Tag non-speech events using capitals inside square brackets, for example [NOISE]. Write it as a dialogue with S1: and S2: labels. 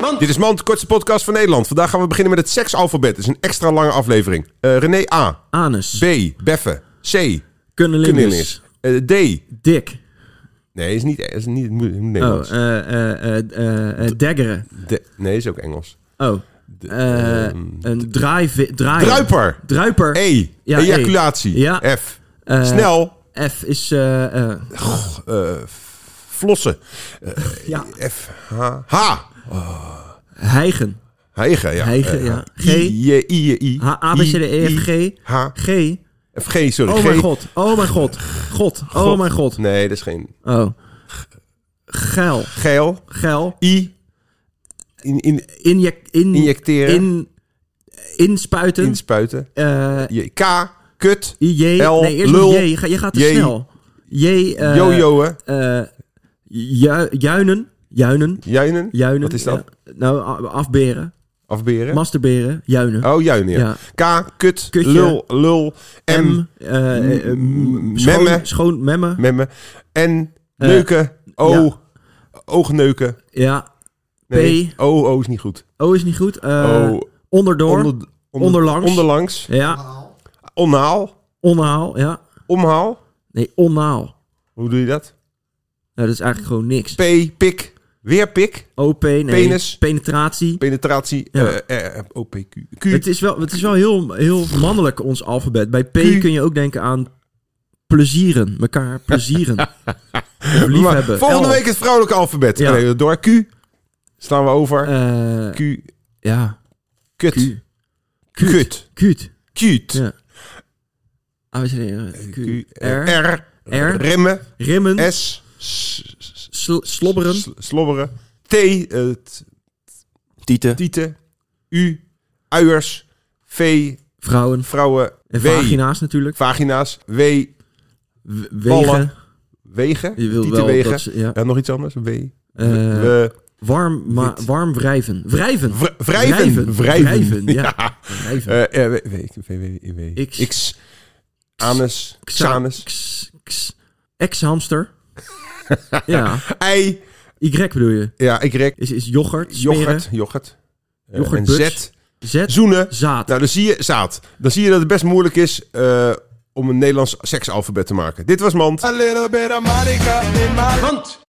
S1: man.
S2: Dit is Man, de kortste podcast van Nederland. Vandaag gaan we beginnen met het seksalfabet. Het is een extra lange aflevering. Eh, René A.
S3: Anus.
S2: B. Beffen. C. Knillis.
S3: Kunnelingus.
S2: Eh, D.
S3: Dik. Nee,
S2: Nee, is niet, eh, is niet moet- moet
S3: Oh,
S2: Nederlands.
S3: eh, eh, eh, eh, eh, daggeren.
S2: De- nee, is ook Engels.
S3: Oh. Eh, een draai... draai
S2: ehm, Druiper.
S3: Druiper.
S2: E.
S3: Ja,
S2: Ejaculatie.
S3: E. Ja.
S2: F.
S3: Eh,
S2: Snel.
S3: F is... eh, eh,
S2: Eh, f- flossen. Eh, E,
S3: ja.
S2: F. H. H.
S3: Hijgen.
S2: Hegen, ja.
S3: Hegen,
S2: Eh,
S3: ja.
S2: G. I, J, I, J, I.
S3: H, A, B, C, D, E,
S2: I,
S3: F, G.
S2: H.
S3: G.
S2: F, G, sorry.
S3: Oh
S2: G.
S3: mijn god. Oh mijn god. God. Oh mijn god.
S2: Nee, dat is geen...
S3: Oh. Geil.
S2: Geil.
S3: Geil.
S2: I. In, in,
S3: Inject, in,
S2: Injecteren.
S3: In, inspuiten.
S2: inspuiten.
S3: Eh,
S2: J. K. Kut.
S3: J.
S2: L,
S3: nee, eerst
S2: lul.
S3: lul, J. Je, gaat- je gaat te
S2: J.
S3: snel. J. eh,
S2: Jojoen.
S3: eh, ju- juinen. Juinen.
S2: Juinen.
S3: Juinen.
S2: Wat is dat?
S3: ja. nou, a- afberen.
S2: Afberen.
S3: Masturberen. Juinen.
S2: Oh, juinen, ja. K. Kut.
S3: Kutje.
S2: Lul. Lul. M.
S3: M. eh, eh, eh,
S2: m-
S3: schoon,
S2: memmen.
S3: Schoon memmen.
S2: Met me. N. Neuken. O.
S3: ja.
S2: Oogneuken.
S3: Ja.
S2: Nee.
S3: P.
S2: O. O is niet goed.
S3: O is niet goed. Eh,
S2: O.
S3: Onderdoor.
S2: Oh. Onder, onder-
S3: Onderlangs.
S2: Onderlangs.
S3: Ja.
S2: Onhaal.
S3: Onhaal. Ja.
S2: Omhaal.
S3: Nee, onhaal.
S2: Hoe doe je dat?
S3: Nou, dat is eigenlijk gewoon niks.
S2: P. Pik. Weer pik.
S3: OP, nee.
S2: Penis.
S3: Penetratie.
S2: Penetratie.
S3: Ja.
S2: eh, eh, OPQ. Q.
S3: Het is wel, het is wel heel, heel mannelijk, ons alfabet. Bij P kun je ook denken aan plezieren. Mekaar
S2: [LAUGHS]
S3: plezieren. Of
S2: Maar
S3: liefhebben.
S2: volgende
S3: L.
S2: week het vrouwelijke alfabet.
S3: eh, Ja.
S2: Nee, door Q. Staan we over.
S3: Eh,
S2: Q.
S3: ja.
S2: Kut.
S3: Q.
S2: Kut.
S3: Cute.
S2: Cute.
S3: Ja. ABCD, Q.
S2: Q.
S3: R.
S2: R.
S3: R.
S2: Remmen.
S3: Rimmen.
S2: S. S- s-
S3: Sl- slobberen.
S2: s- Slobberen. T. eh, t-
S1: Tieten.
S2: Tieten. U. Uiers. V.
S3: Vrouwen.
S2: Vrouwen.
S3: En
S2: W.
S3: vagina's natuurlijk.
S2: Vagina's. W.
S3: W-
S2: Ballen.
S3: Wegen.
S2: Wegen.
S3: Je wil wel
S2: Tietenwegen.
S3: dat ze- ja.
S2: Ja, nog iets anders? W.
S3: Eh,
S2: We-
S3: warm, ma-
S2: Wit.
S3: warm wrijven. Wrijven.
S2: Wr- wrijven.
S3: Wrijven.
S2: Wrijven.
S3: Wrijven,
S2: [LAUGHS]
S3: ja.
S2: Ja.
S3: Wrijven.
S2: eh, eh, W. W- W- W- W-
S3: X.
S2: X. Anus. Xanus.
S3: X- X- Ex-hamster.
S2: [LAUGHS]
S3: ja.
S2: Ei.
S3: Y bedoel je?
S2: Ja, ik rek.
S3: Is, is yoghurt, smeren.
S2: Yoghurt. Yoghurt. Eh,
S3: Yoghurt
S2: en
S3: buts.
S2: Z.
S3: Zet.
S2: Zoenen.
S3: Zaad.
S2: Nou, dan zie je zaad. Dan zie je dat het best moeilijk is eh, om een Nederlands seksalfabet te maken. Dit was Mand.
S1: A little bit of Monica in my...
S2: Mand.